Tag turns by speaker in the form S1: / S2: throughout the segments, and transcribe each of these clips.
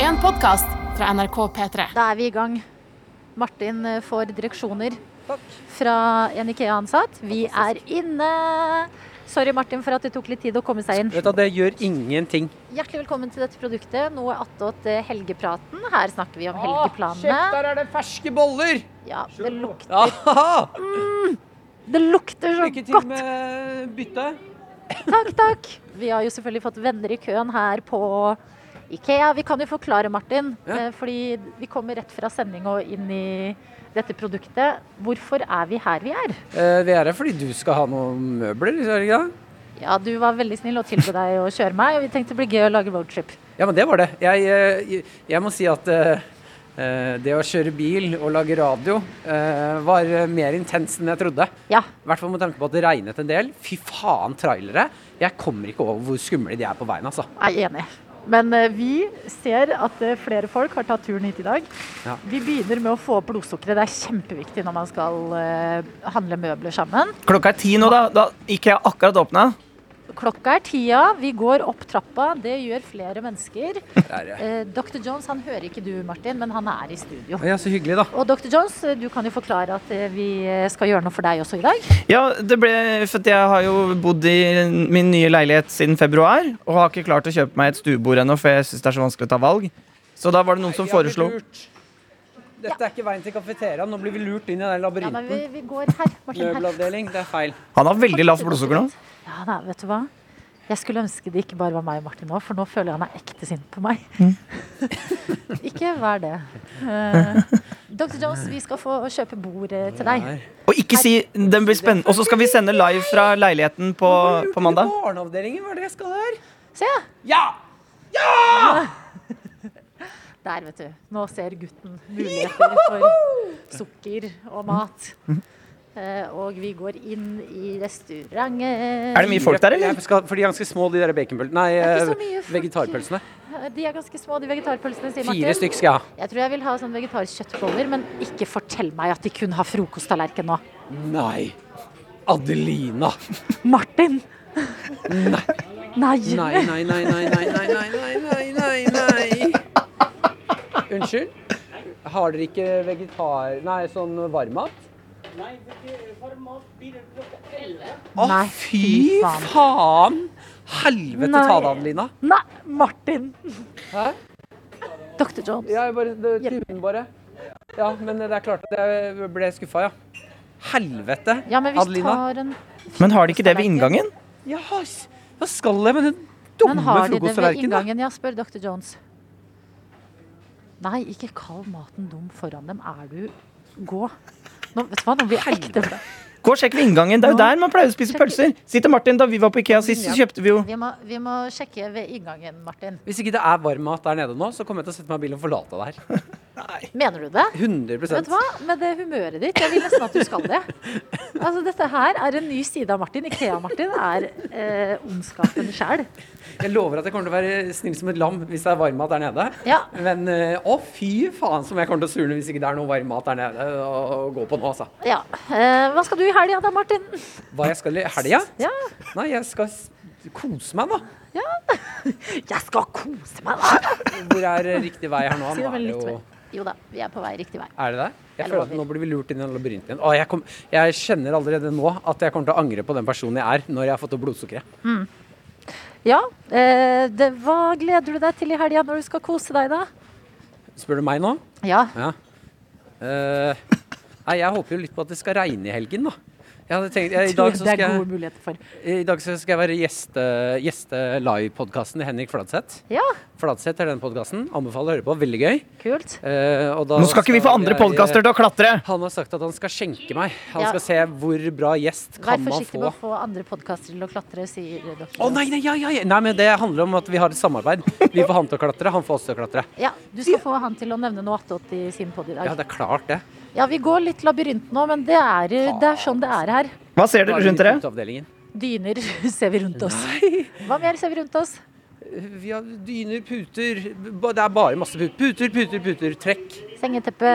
S1: en podkast fra NRK P3.
S2: Da er vi i gang. Martin eh, får direksjoner fra en Ikea-ansatt. Vi er inne! Sorry, Martin, for at det tok litt tid å komme seg inn.
S3: Vet du, hva, Det gjør ingenting.
S2: Hjertelig velkommen til dette produktet. Noe attåt eh, helgepraten. Her snakker vi om helgeplanene.
S3: der er det ferske boller!
S2: Ja, det, lukter,
S3: Ja,
S2: det lukter så
S3: Lykke til
S2: godt!
S3: med byttet.
S2: Takk, takk! Vi har jo selvfølgelig fått venner i køen her på Ikea. Vi kan jo forklare, Martin,
S3: Ja.
S2: eh, fordi vi kommer rett fra sending og inn i dette produktet. Hvorfor er vi her vi er?
S3: vi Eh, er her fordi du skal ha noen møbler, er det ikke det?
S2: Ja, du var veldig snill og tilbød deg å kjøre meg, og vi tenkte det blir gøy å lage roadtrip.
S3: Ja, men det var det. Jeg, eh, jeg- jeg må si at eh, eh, det å kjøre bil og lage radio eh, var eh, mer intenst enn jeg trodde.
S2: Ja,
S3: I hvert fall med tanke på at det regnet en del. Fy faen, trailere. Jeg kommer ikke over hvor skumle de er på veien, altså.
S2: jeg er enig. Men eh, vi ser at eh, flere folk har tatt turen hit i dag.
S3: Ja.
S2: Vi begynner med å få opp blodsukkeret. Det er kjempeviktig når man skal eh, handle møbler sammen.
S4: Klokka er ti nå, da. Da gikk jeg akkurat åpna.
S2: Klokka er tida, vi går opp trappa. Det gjør flere mennesker.
S3: Det er, eh,
S2: Eh, Dr. Jones, han hører ikke du, Martin, men han er i studio.
S3: ja, så hyggelig, da.
S2: Og Dr. Jones, eh, du kan jo forklare at eh, vi eh, skal gjøre noe for deg også i dag.
S4: Ja, det ble For at jeg har jo bodd i min nye leilighet siden februar. Og har ikke klart å kjøpe meg et stuebord ennå, for jeg syns det er så vanskelig å ta valg. Så da var det noen som
S3: Vi har blitt
S4: foreslo
S3: lurt. Dette er ikke veien til kafeteriaen. Nå blir vi lurt inn i den
S2: Ja, men vi,
S3: labyrinten.
S2: vi går her, Martin. Her.
S3: Møbelavdeling, det er feil.
S4: Han har veldig lavt blodsukker nå.
S2: Ja, da, vet du hva? Jeg skulle ønske det ikke bare var meg og Martin nå, for nå føler jeg han er ekte sint på meg.
S4: Mm.
S2: ikke vær det. Eh, Dr. Jones, vi skal få kjøpe bord eh, til deg.
S4: Og ikke si Den blir spennende. Og så skal vi sende live fra leiligheten på, på mandag.
S3: Barneavdelingen, hva er det jeg skal her?
S2: Se!
S3: Ja!
S2: Der, vet du. Nå ser gutten muligheter for sukker og mat. Eh, og vi går inn i restauranten.
S4: Er det mye folk der, eller?
S3: Jeg skal, for de er ganske små, de der baconpølsene. Nei,
S2: er ikke så
S3: eh,
S2: mye folk.
S3: vegetarpølsene.
S2: Eh, De er ganske små, de vegetarpølsene, sier Martin.
S3: Fire stykk skal jeg ha.
S2: Jeg tror jeg vil ha sånn vegetarkjøttboller, men ikke fortell meg at de kun har frokosttallerken nå.
S3: Nei. Adelina.
S2: Martin! Nei.
S3: Nei, nei, nei, nei, nei, nei, nei, nei, nei, nei, nei. Unnskyld? Har dere ikke vegetar... Nei, sånn varmmat? Å,
S2: Nei,
S3: fy
S2: fy faen.
S3: faen! Helvete ta
S2: Nei.
S3: det, Adelina.
S2: Nei, Martin!
S3: Hæ?
S2: Dr. Jones.
S3: Ja, jeg bare, det, timen bare. Ja, men det er klart at jeg ble skuffa, ja. Helvete!
S2: Ja, men vi
S3: Adelina.
S2: tar en
S4: Men har de ikke det ved inngangen?
S3: Ja, s- hva skal jeg med den
S2: Men
S3: dumme
S2: har de det ved
S3: frokosttallerkenen? da?
S2: inngangen? Ja, spør Dr. Jones. Nei, ikke kall maten dum foran dem. Er du Gå. Nå, vet du hva, nå blir jeg ekte.
S4: Gå og sjekk ved inngangen. Det er jo der man pleier å spise pølser. Si til Martin, da vi var på Ikea sist, så kjøpte vi jo
S2: Vi må, vi må sjekke ved inngangen, Martin.
S3: Hvis ikke det er varm mat der nede nå, så kommer jeg til å sette meg i bilen og forlate det her.
S2: Mener du det?
S3: 100
S2: Vet du hva, med det humøret ditt, jeg vil nesten at du skal det. Altså, dette her er en ny side av Martin. Ikea-Martin er eh, ondskapen sjæl.
S3: Jeg lover at jeg kommer til å være snill som et lam hvis det er varm mat der nede.
S2: Ja.
S3: Men eh, å, fy faen som jeg kommer til å surne hvis ikke det er noe varm mat der nede å, å gå på nå, altså.
S2: Ja. Eh, hva skal du i helga da, Martin?
S3: Hva jeg skal i helga?
S2: Ja.
S3: Nei, jeg skal s- kose meg, da.
S2: Jeg skal kose meg, da!
S3: Hvor er eh, riktig vei her nå?
S2: Si det
S3: Nå
S2: vel
S3: er det
S2: litt
S3: jo
S2: mer. Jo da, vi er på vei riktig vei.
S3: Er det det? Jeg,
S2: Jeg
S3: føler at
S2: lover.
S3: Nå blir vi lurt inn i den labyrinten igjen. Å, jeg, kom, jeg kjenner allerede nå at jeg kommer til å angre på den personen jeg er, når jeg har fått opp blodsukkeret.
S2: Ja, eh, det, hva gleder du deg til i helga når du skal kose deg, da?
S3: Spør du meg nå?
S2: Ja.
S3: Ja. Eh, nei, jeg håper jo litt på at det skal regne i helgen, da. Jeg hadde tenkt, jeg, i, dag så
S2: det
S3: skal
S2: er
S3: jeg,
S2: gode muligheter for.
S3: I dag så skal jeg være gjeste, gjeste live-podkasten til Henrik Fladseth.
S2: Ja,
S3: Fladseth er den podkasten. Anbefaler å høre på. Veldig gøy.
S2: kult.
S3: Eh, og da
S4: Nå skal ikke vi få andre
S3: jeg-
S4: podkaster til å klatre!
S3: Han har sagt at han skal skjenke meg. Han
S2: Ja.
S3: skal se hvor bra gjest
S2: Vær
S3: kan man
S2: forsiktig med
S3: få.
S2: å få andre podkaster til å klatre, sier dr.
S3: Å nei, nei, ja, ja, ja. nei, men det handler om at vi har et samarbeid. Vi får han til å klatre, han får oss til å klatre.
S2: Ja, du skal få han til å nevne noe attåt i sin podd i dag.
S3: Ja, det er klart det.
S2: Ja, vi går litt labyrint nå, men det er, det er sånn det er her.
S4: Hva ser dere rundt dere?
S3: Utavdelingen.
S2: Dyner ser vi rundt oss. Hva mer ser vi rundt oss?
S3: Vi har dyner, puter ba- Det er bare masse puter. Puter, puter, puter. Trekk.
S2: Sengeteppe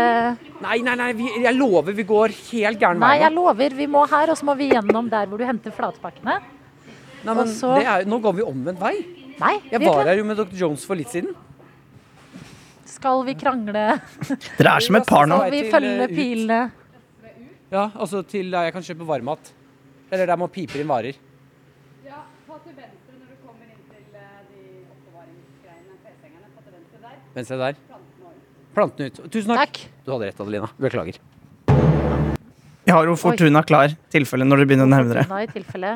S3: Nei, nei, nei, vi, jeg lover vi går helt gæren
S2: Nei,
S3: vei.
S2: jeg
S3: nå.
S2: lover, vi må her, og så må vi gjennom der hvor du henter flatpakkene.
S3: Nei, men
S2: og så-
S3: det er, jo- nå går vi omvendt vei.
S2: Nei,
S3: Jeg
S2: vi er
S3: var
S2: klare.
S3: her jo med dr. Jones for litt siden.
S2: Skal vi krangle?
S4: Dere er som et par nå.
S2: Skal vi
S3: til, eh,
S2: følge
S3: ut.
S2: pilene?
S3: Ja, altså til der jeg kan kjøpe varmmat. Eller der man piper inn varer.
S5: Ja, ta til venstre når du kommer inn til eh, de oppbevaringsgreiene. PC-engene. Ta til venstre der.
S3: Men se der. Planten ut. Tusen takk.
S2: Takk.
S3: Du hadde rett, Adelina. Beklager.
S4: Jeg har jo Fortuna klar, tilfelle når dere begynner å nærme dere.
S2: Nå i tilfelle.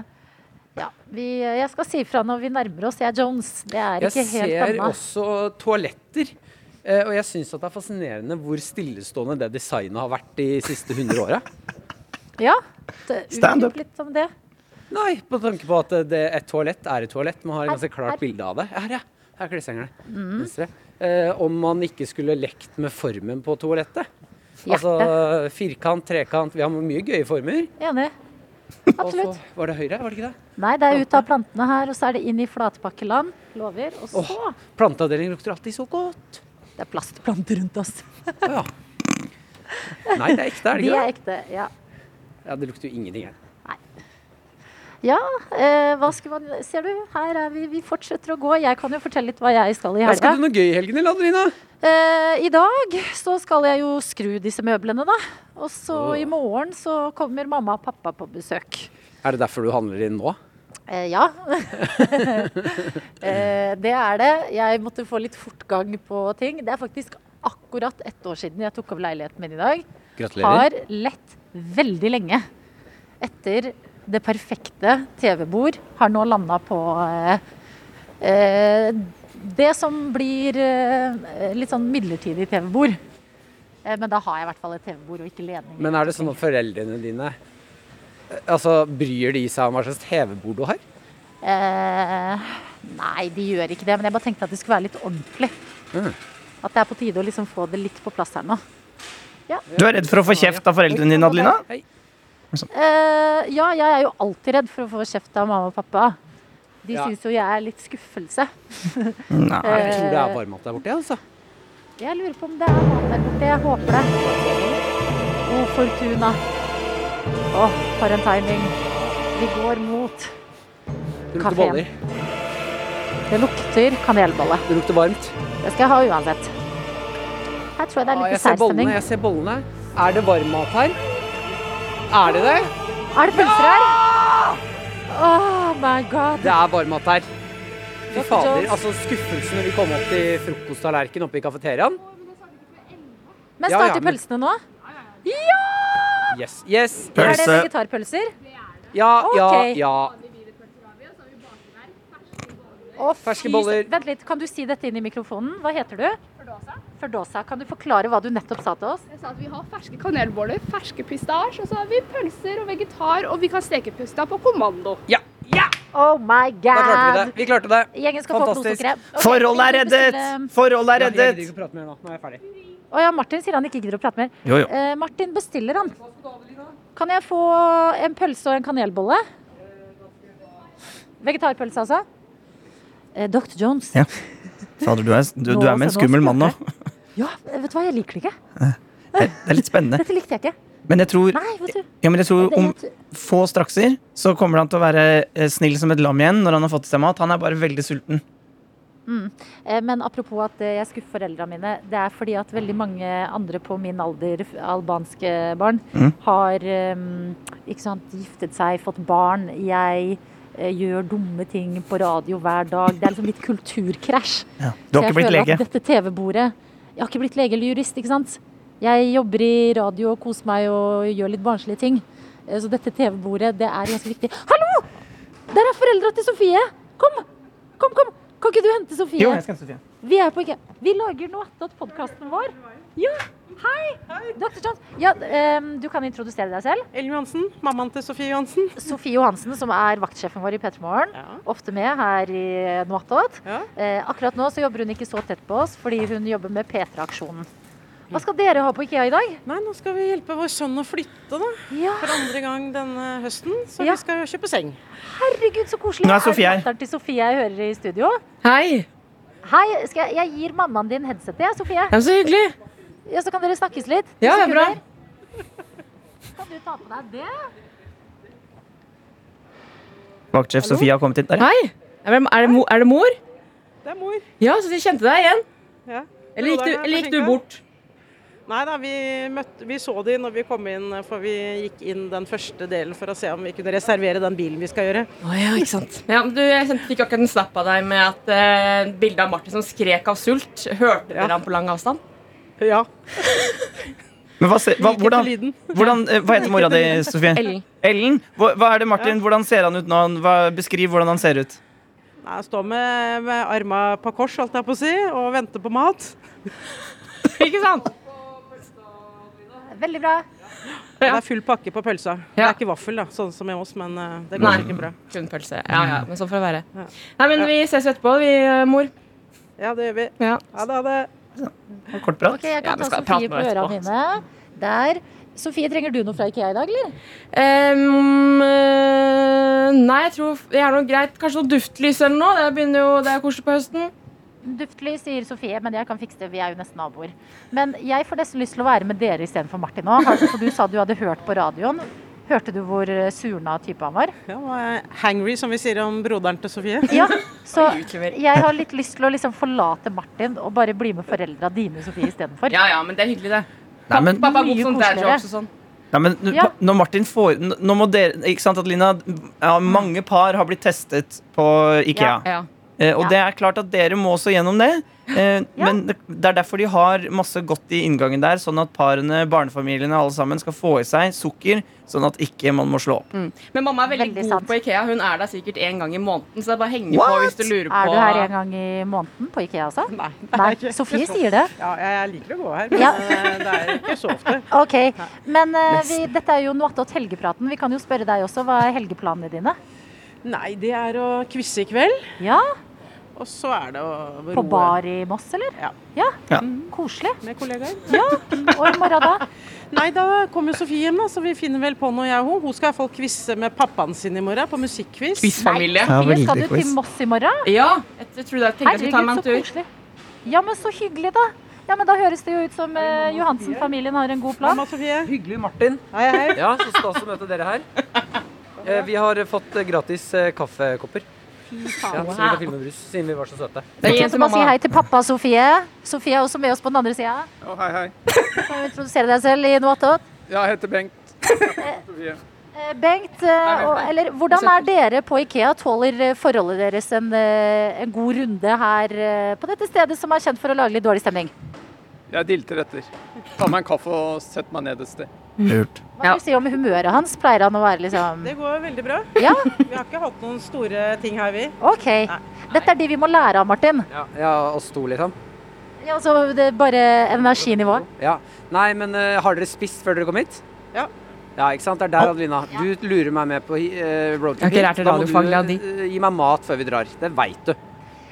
S2: Ja, vi, eh, jeg skal si ifra når vi nærmer oss. Jeg er Jones. Det er ikke
S3: Jeg
S2: helt
S3: ser
S2: anna.
S3: også toaletter. eh, Og jeg syns det er fascinerende hvor stillestående det designet har vært de siste 100 åra.
S2: Ja, det-
S4: Stand up.
S2: utdyp litt om det.
S3: Nei, på tanke på at det, et toalett er et toalett. Man har et ganske
S2: Her, her. Mhm.
S3: klart bilde av det. Her, ja. Her er klessengene. Venstre. Eh, om man ikke skulle lekt med formen på toalettet.
S2: Hjerte.
S3: Altså firkant, trekant Vi har mye gøye former.
S2: Enig.
S3: Og så
S2: Absolutt.
S3: var det høyre, var det ikke det?
S2: Nei, det er ut av plantene her, og så er det inn i flatpakkeland. Lover. Og så
S3: Planteavdeling lukter alltid så godt.
S2: Det er plastplanter rundt oss.
S3: Å ja. Nei, det er ekte, er det
S2: De
S3: ikke
S2: er
S3: det?
S2: ekte. Ja.
S3: Ja, det lukter jo ingenting her.
S2: Ja, eh, hva skulle man Ser du, her er vi. Vi fortsetter å gå. Jeg kan jo fortelle litt hva jeg skal i
S3: Ja, skal
S2: helga.
S3: du noe gøy i helgen, eller, Adelina?
S2: Eh, I dag så skal jeg jo skru disse møblene, da. Og så i morgen så kommer mamma og pappa på besøk.
S3: Er det derfor du handler inn nå?
S2: Eh, ja. eh, det er det. Jeg måtte få litt fortgang på ting. Det er faktisk akkurat ett år siden jeg tok over leiligheten min i dag.
S3: Gratulerer.
S2: Har lett veldig lenge etter det perfekte TV-bord har nå landa på eh, eh, det som blir eh, litt sånn midlertidig TV-bord. Eh, men da har jeg i hvert fall et TV-bord og ikke ledning.
S3: Men er det sånn at foreldrene dine eh, Altså, bryr de seg om hva slags TV-bord du har?
S2: Eh, nei, de gjør ikke det, men jeg bare tenkte at det skulle være litt ordentlig. At det er på tide å liksom få det litt på plass her nå.
S4: Du er redd for å få kjeft av foreldrene dine, Adelina?
S3: Hei.
S2: Eh, ja, jeg er jo alltid redd for å få kjeft av mamma og pappa. De
S3: Ja.
S2: syns jo jeg er litt skuffelse.
S4: Nei.
S2: Eh,
S3: Jeg tror det er varmt der borte, jeg, altså.
S2: Jeg lurer på om det er mat der borte. Jeg håper det. O Fortuna. Å, for en timing. Vi går mot
S3: Det lukter
S2: Kafeen.
S3: boller.
S2: Det lukter kanelbolle.
S3: Det lukter varmt.
S2: Det skal jeg ha uansett. Her tror jeg det er
S3: Ah,
S2: litt
S3: jeg ser bollene.
S2: særstemning.
S3: Jeg ser bollene. Er det varmmat her? Er det det?
S2: Er det pølser her? Oh my god.
S3: Det er varmmat her. Fy
S2: Dr.
S3: fader.
S2: Jones.
S3: Altså, skuffelsen når vi kom opp til frokosttallerken oppe i kafeteriaen.
S2: Men
S3: Ja, ja,
S2: starter
S3: men-
S2: pølsene nå?
S3: Yes. Yes.
S4: Pølse.
S2: Er det vegetarpølser?
S3: Ja, ja,
S2: Ok.
S3: ja.
S2: Å, fy
S3: Ferske boller.
S2: s- Vent litt, kan du si dette inn i mikrofonen? Hva heter du? Førdåsa. Kan du forklare hva du nettopp sa til oss?
S5: Jeg sa at vi har ferske kanelboller, ferske pistasj, og så har vi pølser og vegetar, og vi kan steke pusta på kommando.
S3: Ja, ja!
S2: Oh my
S3: Da klarte vi det.
S2: god.
S3: Vi klarte det.
S2: Gjengen skal
S3: Fantastisk.
S2: få blodsukkeret. Ok,
S4: Forholdet er
S2: vi skal
S4: reddet!
S2: bestille-
S4: Forholdet er
S3: Jeg gidder
S4: reddet!
S3: ikke å prate mer nå. Nå er jeg ferdig.
S2: Å ja, Martin sier han ikke gidder å prate mer.
S4: Jo, jo.
S2: Eh, Martin bestiller han. Kan jeg få en pølse og en kanelbolle? Vegetarpølse, altså? Eh, Dr. Jones.
S4: Ja. Fader, du er, du, du er med en skummel mann nå.
S2: Ja, vet du hva, jeg liker det ikke.
S4: Det er litt spennende.
S2: Dette likte jeg ikke.
S4: Men jeg tror,
S2: Nei, vet du.
S4: ja, men jeg tror
S2: Det-
S4: om
S2: jeg-
S4: få strakser så kommer han til å være eh, snill som et lam igjen når han har fått i seg mat. Han er bare veldig sulten.
S2: Eh, Men apropos at eh, jeg skuffer foreldrene mine. Det er fordi at veldig mange andre på min alder, f- albanske barn,
S4: Mm.
S2: har em, ikke sant, giftet seg, fått barn. Jeg eh, gjør dumme ting på radio hver dag. Det er liksom litt kulturkrasj. Så
S4: Du har
S2: jeg
S4: ikke blitt
S2: føler at
S4: lege.
S2: Dette TV-bordet Jeg har ikke blitt lege eller jurist, ikke sant? Jeg jobber i radio og koser meg og gjør litt barnslige ting. Eh, Så dette TV-bordet, det er ganske viktig. Hallo! Der er foreldra til Sofie! Kom! Kom, kom! Kan ikke du hente Sofie?
S4: Jo, jeg skal Sofie.
S2: Vi er på IKEA. Vi lager nå attåt podkasten vår. Ja, hei! Dr. Jones. Ja, ehm, du kan introdusere deg selv.
S6: Ellen Johansen, mammaen til Sofie Johansen.
S2: Sofie Johansen, som er vaktsjefen vår i P3 Morgen.
S6: Ja.
S2: Ofte med her i nå attåt.
S6: Ja.
S2: Eh, akkurat nå så jobber hun ikke så tett på oss, fordi hun jobber med P3-aksjonen. Hva skal dere ha på IKEA i dag?
S6: Nei, nå skal vi hjelpe vår sønn å flytte, da.
S2: Ja,
S6: For andre gang denne høsten. Så
S2: Ja.
S6: vi skal jo kjøpe seng.
S2: herregud, så koselig.
S4: Nå er Sofie her.
S2: datteren til Sofie jeg hører i studio.
S6: Hei!
S2: Hei, skal jeg, jeg gir mammaen din headsetet, jeg, Sofie.
S6: Ja, så hyggelig.
S2: Ja, så kan dere snakkes litt.
S6: Ja, det er bra.
S2: Kan du ta på deg det?
S4: Vaktsjef Sofie har kommet hit. Der.
S7: Hei! Er det, er det mo- er det mor?
S6: Det er mor.
S7: Ja, så de kjente deg igjen?
S6: Ja.
S7: Eller gikk du,
S6: Broderen er
S7: eller gikk du
S6: forsinket.
S7: bort?
S6: Nei da, vi, møtte, vi så de når vi kom inn, for vi gikk inn den første delen for å se om vi kunne reservere den bilen vi skal gjøre.
S7: Å ja, ikke sant.
S8: Ja, du, jeg kjente- fikk akkurat en snap av deg med at eh, bildet av Martin som skrek av sult. Hørte dere han på lang avstand?
S6: Ja,
S4: Men hva, se- hva,
S6: like
S4: hvordan,
S6: til lyden.
S4: hvordan, eh, hva heter mora di, Sofie?
S8: Ellen.
S4: Ellen? Hva, hva er det, Martin? Hvordan ser han ut nå? Hva, beskriv hvordan han ser ut.
S6: Nei, jeg står med, med arma på kors, holdt jeg på å si, og venter på mat.
S8: Ikke sant?
S2: Veldig bra.
S6: Det
S8: Ja.
S6: er full pakke på pølsa. Det
S8: Ja.
S6: er ikke vaffel, da, sånn som hos oss, men eh, det
S8: Nei.
S6: går ikke bra.
S8: Kun pølse. Ja, ja, men sånn får det være.
S6: Ja.
S8: Nei, men vi ses etterpå, vi, eh, mor.
S6: Ja, det gjør vi.
S8: Ja.
S6: Ha det, ha det.
S4: Kort prat.
S2: Ok, jeg
S8: Ja,
S2: kan ta
S8: men skal jeg
S2: Sofie
S8: prate
S2: på
S8: med deg
S2: ørene mine. Der. Sofie, trenger du noe fra IKEA i dag, eller?
S8: Ehm, eh, nei, jeg tror det er noe greit. Kanskje noe duftlys eller noe. Det begynner jo, det er koselig på høsten.
S2: Duftlys, sier Sofie, men jeg kan fikse det. Vi er jo nesten naboer. Men jeg får nesten lyst til å være med dere istedenfor Martin nå. Har- For du sa du hadde hørt på radioen. Hørte du hvor eh, surna type han var?
S6: Ja, og, eh, hangry, som vi sier om broderen til Sofie.
S2: Ja, så
S8: Utlever.
S2: jeg har litt lyst til å liksom forlate Martin og bare bli med foreldra dine, Sofie, istedenfor.
S8: Ja ja, men det er hyggelig, det.
S4: Nei, men,
S8: Pappa er god
S2: Mye
S8: som dad
S2: koseligere.
S8: jokes og sånn.
S4: nei, men n-
S2: Ja.
S4: pa- når Martin får n- Nå må dere Ikke sant, Adelina? Ja, mange par har blitt testet på Ikea.
S8: Ja.
S4: Eh, og
S2: Mm. Ja.
S4: det er klart at dere må også gjennom det. Eh,
S2: Ja.
S4: Men det, det er derfor de har masse godt i inngangen der, sånn at parene, barnefamiliene, alle sammen skal få i seg sukker, sånn at ikke man må slå opp.
S8: Mm. Men mamma er veldig,
S2: Veldig
S8: god
S2: sant.
S8: på Ikea. Hun er der sikkert én gang i måneden, så det er bare å henge
S4: What?
S8: på hvis du lurer på
S2: Er du her en gang i måneden på IKEA, altså?
S6: Nei,
S2: Nei,
S6: ikke-
S2: Sofie
S6: ikke så-
S2: sier det.
S6: Ja, jeg, jeg liker å gå her, men
S2: Ja.
S6: eh, det er ikke så ofte.
S2: OK. Men eh, vi, dette er jo noe attåt helgepraten. Vi kan jo spørre deg også. Hva er helgeplanene dine?
S6: Nei, det er å quize i kveld,
S2: Ja,
S6: og så er det å roe
S2: på bar i Moss, eller?
S6: Ja.
S2: ja. Mm,
S4: Ja.
S2: Koselig.
S6: med kollegaer.
S2: Og i morgen, da?
S6: Nei, da kommer Sofie hjem, da, så vi finner vel på noe, jeg og hun. Hun skal iallfall quize med pappaen sin i morgen, på musikkquiz.
S8: Quizfamilie.
S4: Ja,
S2: Mia, skal
S4: veldig
S2: du
S4: quiz.
S2: til Moss i morgen?
S8: Ja, jeg t- tror det. Jeg tenkte jeg skulle ta
S2: Herregud,
S8: meg
S2: så
S8: en tur.
S2: koselig. Ja, men så hyggelig, da. Ja, men Da høres det jo ut som eh, Johansen-familien har en god plan.
S6: Mamma Sofie.
S3: Hyggelig, Martin.
S6: Hei, hei.
S3: Ja, så stas å møte dere her. Eh, Vi har eh, fått eh, gratis eh, kaffekopper. Ja, så vi kan filme brus, siden vi var så søte.
S8: Det er en
S2: Så
S8: til
S2: bare si
S8: mamma.
S2: hei til pappa og Sofie. Sofie er også med oss på den andre sida. Kan du introdusere deg selv i noe attåt?
S9: Jeg heter Bengt.
S2: Eh, Bengt, eh, og, eller hvordan er dere på Ikea? Tåler eh, forholdet deres en, eh, en god runde her eh, på dette stedet, som er kjent for å lage litt dårlig stemning?
S9: Jeg dilter etter. Ta meg en kaffe og sett meg ned et sted.
S2: Hva vil du si om humøret hans? Pleier han å være liksom
S6: Det går veldig bra.
S2: Ja,
S6: Vi har ikke hatt noen store ting her, vi.
S2: OK. Dette er de vi må lære av, Martin.
S3: Ja, ja oss to, liksom.
S2: Ja, altså, det er bare energinivået.
S3: Ja. Nei, men eh, har dere spist før dere kom hit?
S6: Ja.
S3: Ja, ikke sant? Det er der, Adelina. Du lurer meg med på uh, roadtrip.
S8: Jeg har ikke lært det
S3: Da må
S8: radiofaglig av
S3: du
S8: de.
S3: eh, gi meg mat før vi drar. Det veit du.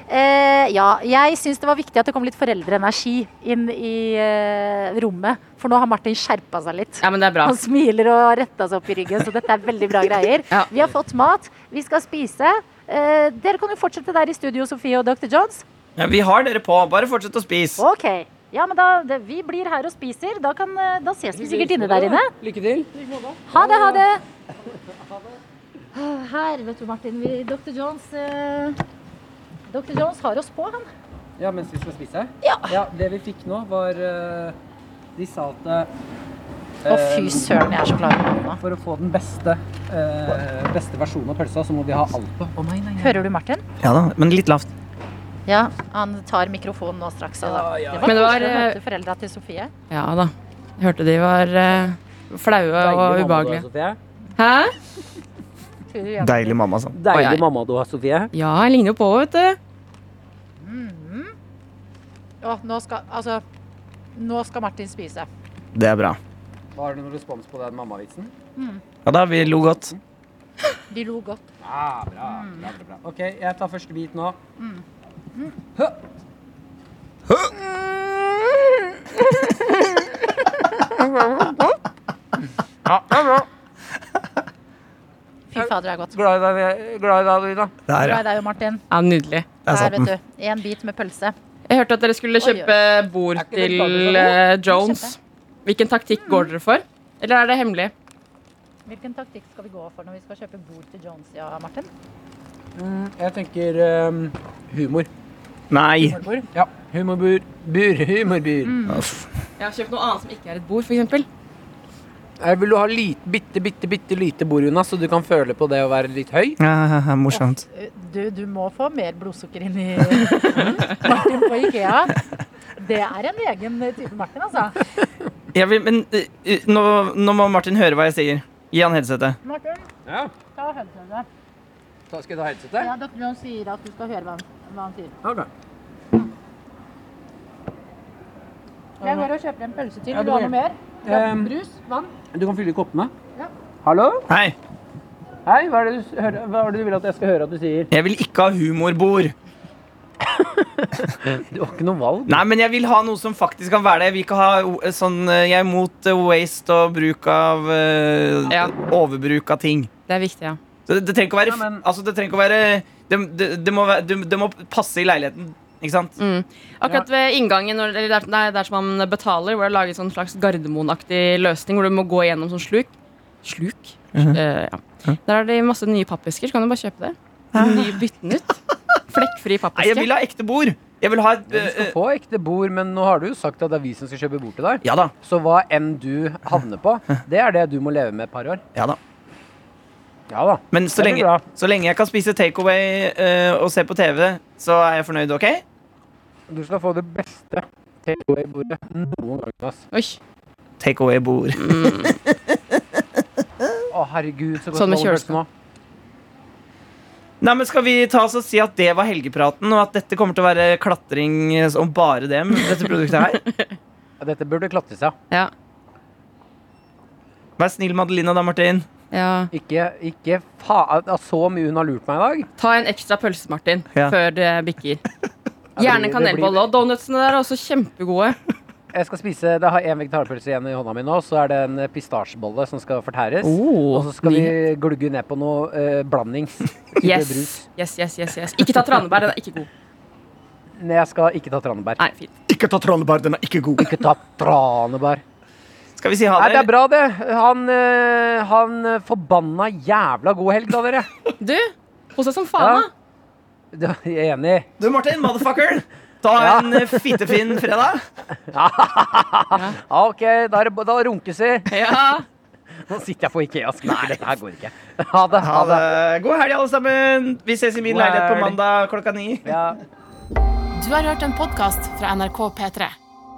S2: Eh, ja, jeg syns det var viktig at det kom litt foreldreenergi inn i eh, rommet. For nå har Martin skjerpa seg litt.
S8: Ja, men det er bra.
S2: Han smiler og har retta seg opp i ryggen, så dette er veldig bra greier.
S8: Ja.
S2: Vi har fått mat, vi skal spise. Eh, dere kan jo fortsette der i studio, Sofie og dr. Jones.
S4: Ja, vi har dere på. Bare fortsett å spise.
S2: OK. Ja, men da, det, vi blir her og spiser. Da, kan, eh, da ses vi sikkert inne der inne.
S3: Lykke til.
S2: Ha det, ha det. Ah, Her, vet du, Martin. Vi, dr. Jones eh, Dr. Jones har oss på, han.
S3: Ja, mens vi skal spise?
S2: Ja.
S3: det vi fikk nå, var eh, De sa at eh,
S2: Å, fy søren, jeg er så klar for hånda.
S3: For å få den beste, eh, beste versjonen av pølsa, så må de ha alt på.
S2: Hører du Martin?
S4: Ja da, men litt lavt.
S2: Ja, han tar mikrofonen nå straks. Ja, da. Det var
S8: Men det var,
S2: koselig å
S8: eh,
S2: møte foreldra til Sofie.
S8: Ja da. Jeg Hørte de var eh, flaue og
S3: Deilig mamma altså. du har,
S8: ubehagelige.
S3: Sofie.
S8: Hæ?
S4: Deilig mamma, sånn.
S8: Oi, oi.
S3: Deilig mamma du har, Sofie.
S8: Ja, jeg ligner jo på, vet du.
S2: Å, nå skal, altså, nå skal Martin spise.
S4: Det er bra.
S3: Har du noen respons på den mammavitsen?
S4: Ja da, vi lo godt.
S2: De lo godt.
S3: Ja, Ah, bra. bra, bra, bra. Mm. OK, jeg tar første bit nå.
S2: Fy fader, det er godt.
S3: Glad i deg, glad i deg Lina.
S4: Der, ja.
S2: Glad i deg, Martin.
S8: Ja, Nydelig.
S4: Der
S2: Der,
S4: satt den.
S2: vet du. En bit med pølse.
S8: Jeg hørte at dere skulle
S2: Oi, oi.
S8: kjøpe bord
S3: Er ikke det litt
S8: til
S3: annerledes,
S8: eh, Jones. Hvilken taktikk går dere for? Eller er det hemmelig?
S2: Hvilken taktikk skal vi gå for når vi skal kjøpe bord til Jones, ja, Martin?
S3: Jeg tenker ehm, humor.
S4: Nei.
S3: Humor? Ja, Humorbur. Bur. Humorbur.
S4: Mm.
S2: Mm.
S4: Uff.
S8: Jeg har kjøpt noe annet som ikke er et bord, f.eks.
S3: Jeg Eh, vil du ha lit, bitte, bitte, bitte lite bord, Jonas, så du kan føle på det å være litt høy?
S4: Ja, ja, ja, morsomt.
S2: Eh, Du, du må få mer blodsukker inn i Martin på Ikea. Det er en egen type Martin, altså.
S4: Jeg vil, men eh, eh, nå, nå må Martin høre hva jeg sier. Gi han headsetet.
S2: Martin,
S3: Ja.
S2: ta hønsehudet.
S3: Så skal jeg ta headsetet?
S2: Ja, Dr. Jones sier at du skal høre hva han, hva han sier.
S3: Ok.
S2: Jeg går Eh, og kjøper en pølse til.
S3: Ja,
S2: Vil du ha
S3: det
S2: noe
S3: var-
S2: mer?
S3: Ehm.
S2: Brus? Vann?
S3: Du kan fylle i koppene.
S2: Ja.
S3: Hallo?
S4: Hei,
S3: Hei, hva er, det du, s- hører- hva er det du vil at jeg skal høre at du sier?
S4: jeg vil ikke ha humorbord.
S3: Du har ikke noe valg.
S4: Nei, men jeg vil ha noe som faktisk kan være det. Jeg vil ikke ha eh, sånn eh, Jeg er imot eh, waste og bruk av eh,
S8: Ja.
S4: Overbruk av ting.
S8: Det er viktig, ja.
S4: Så det, det trenger ikke å være
S3: Ja, men-
S4: Altså, det trenger ikke å være det, det, det, må være det, det må passe i leiligheten, ikke sant?
S8: Akkurat ved inngangen, når- eller der, nei, der som man betaler, hvor det er laget sånn slags Gardermoen-aktig løsning, hvor du må gå gjennom sånn sluk. Sluk? Eh, ja. Der er det masse nye pappesker, så kan du bare kjøpe det. Ny, bytte den ut.
S4: Nei,
S8: Flekkfri
S4: jeg
S8: pappeske.
S4: vil ha ekte bord. Jeg vil ha et
S3: Du skal
S4: eh,
S3: få ekte bord, men nå har du jo sagt at det er vi som skal kjøpe bord til deg.
S4: Ja da.
S3: Så hva enn du havner på, det er det du må leve med et par år.
S4: Ja da.
S3: Ja da.
S4: Men så
S3: Det blir
S4: lenge,
S3: bra.
S4: så lenge jeg kan spise takeaway eh, og se på TV, så er jeg fornøyd, OK?
S3: Du skal få det beste takeaway-bordet noen gang. Ass.
S8: Oi,
S4: Takeaway-bord.
S3: Å, herregud, så godt
S8: Sånn med
S3: det holder
S8: kjøleskap.
S3: nå.
S4: Nei, men Skal vi ta oss og si at det var helgepraten, og at dette kommer til å være klatring eh, om bare dem? Dette produktet her
S3: Ja, Dette burde klattes av.
S8: ja.
S4: Vær snill med Adelina da, Martin.
S8: ja.
S3: Ikke, ikke faen ja, Så mye hun har lurt meg i dag.
S8: Ta en ekstra pølse, Martin,
S4: Ja.
S8: før det bikker. Gjerne
S3: det
S8: kanelbolle. Og donutsene der er også kjempegode.
S3: Jeg skal spise, det har en vegetarpølse igjen i hånda mi nå, så er det en pistasjebolle som skal fortæres. og så skal vi glugge ned på noe eh, blandings. type brus.
S8: Yes. yes, yes, yes, yes. Ikke ta tranebær, den er ikke god.
S3: Nei, jeg skal ikke ta tranebær.
S8: Nei, fint.
S4: Ikke ta Trondebær, den er ikke god.
S3: Ikke ta tranebær.
S4: Skal vi si ha
S3: Nei, det
S4: det?
S3: er bra, det. Han, eh, han eh, forbanna jævla god helg, da, dere.
S8: Du, kos deg som
S3: Ja.
S8: faen, da.
S3: Det er jeg enig i.
S4: Du, Martin, motherfucker. Ta
S3: Ja.
S4: en eh, fittefin fredag.
S3: Ja, OK, da, er det, da runkes vi.
S8: Ja.
S3: Nå sitter jeg på Ikea og skriver. Dette her går ikke. Ha det.
S4: Ha det. God helg, alle sammen. Vi ses i min
S3: God
S4: leilighet på
S3: helg.
S4: mandag klokka ni.
S3: Ja.
S1: Du har hørt en podkast fra NRK P3.